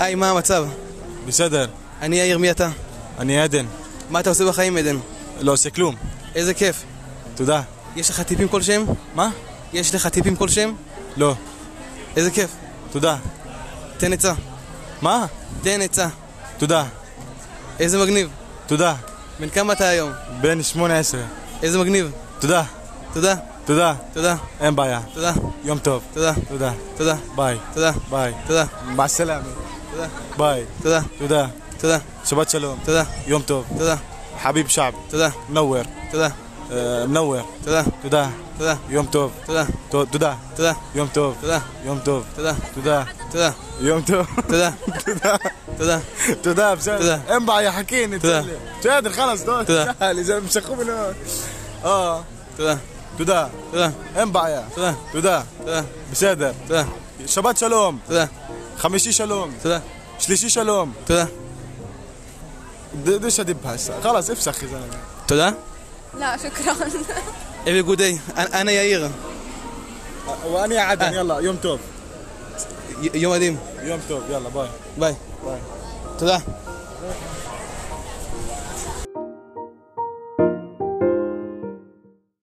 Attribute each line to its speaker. Speaker 1: היי, מה המצב?
Speaker 2: בסדר,
Speaker 1: אני יאיר, מי אתה?
Speaker 2: אני עדן.
Speaker 1: מה אתה עושה בחיים, עדן?
Speaker 2: לא עושה כלום.
Speaker 1: איזה כיף.
Speaker 2: תודה.
Speaker 1: יש לך טיפים כלשהם?
Speaker 2: מה?
Speaker 1: יש לך טיפים כלשהם?
Speaker 2: לא.
Speaker 1: איזה כיף.
Speaker 2: תודה.
Speaker 1: תן עצה.
Speaker 2: מה?
Speaker 1: תן עצה.
Speaker 2: תודה.
Speaker 1: איזה מגניב.
Speaker 2: תודה.
Speaker 1: בן כמה אתה היום?
Speaker 2: בן 18.
Speaker 1: איזה מגניב.
Speaker 2: תודה.
Speaker 1: תודה,
Speaker 2: תודה.
Speaker 1: תודה,
Speaker 2: אין בעיה.
Speaker 1: תודה,
Speaker 2: יום טוב.
Speaker 1: תודה,
Speaker 2: תודה.
Speaker 1: תודה,
Speaker 2: ביי.
Speaker 1: תודה,
Speaker 2: ביי.
Speaker 1: תודה,
Speaker 2: בסלאמה.
Speaker 1: תודה.
Speaker 2: ביי.
Speaker 1: תודה,
Speaker 2: תודה.
Speaker 1: תודה,
Speaker 2: שבת שלום.
Speaker 1: תודה,
Speaker 2: יום טוב.
Speaker 1: תודה,
Speaker 2: חביב שעב.
Speaker 1: תודה,
Speaker 2: منور.
Speaker 1: תודה,
Speaker 2: אה, منور.
Speaker 1: תודה,
Speaker 2: תודה.
Speaker 1: תודה,
Speaker 2: יום טוב.
Speaker 1: תודה,
Speaker 2: ת- תודה.
Speaker 1: תודה,
Speaker 2: יום טוב.
Speaker 1: תודה,
Speaker 2: יום טוב.
Speaker 1: תודה,
Speaker 2: תודה.
Speaker 1: תודה,
Speaker 2: יום טוב.
Speaker 1: תודה,
Speaker 2: תודה.
Speaker 1: תודה,
Speaker 2: تداب سهل
Speaker 1: تداب.
Speaker 2: انبع يا حكيني
Speaker 1: تداب.
Speaker 2: تسلم شادر خلاص دول
Speaker 1: تداب.
Speaker 2: سهل اذا مسخوا من هون اه
Speaker 1: תודה,
Speaker 2: تدا
Speaker 1: תודה,
Speaker 2: انبع يا
Speaker 1: תודה,
Speaker 2: تدا
Speaker 1: תודה,
Speaker 2: بسادر
Speaker 1: תודה,
Speaker 2: שבת שלום,
Speaker 1: תודה,
Speaker 2: חמישי שלום,
Speaker 1: תודה,
Speaker 2: שלישי שלום.
Speaker 1: תודה,
Speaker 2: د- دش ادب هسه خلاص افسخ يا زلمه.
Speaker 1: תודה,
Speaker 3: لا شكرا
Speaker 1: every good day, أنا- أنا ياير,
Speaker 2: وانا يا عدن يلا يوم توب
Speaker 1: ي- يوم قديم,
Speaker 2: يوم توب يلا باي
Speaker 1: ביי,
Speaker 2: ביי.
Speaker 1: תודה.